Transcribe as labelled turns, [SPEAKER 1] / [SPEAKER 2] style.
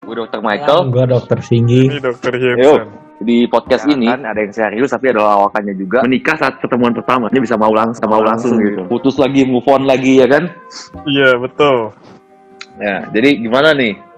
[SPEAKER 1] gue Dr. Michael.
[SPEAKER 2] Gue dokter Singgi.
[SPEAKER 3] Ini dokter Jameson.
[SPEAKER 1] Di podcast
[SPEAKER 4] Ya
[SPEAKER 1] ini
[SPEAKER 4] kan,
[SPEAKER 1] Iya, ada yang serius tapi ada lawakannya juga. Menikah saat pertemuan pertama, ini bisa mau langsung, mau langsung gitu. Putus lagi, move on lagi ya kan?
[SPEAKER 3] Iya betul.
[SPEAKER 1] Ya, jadi gimana nih?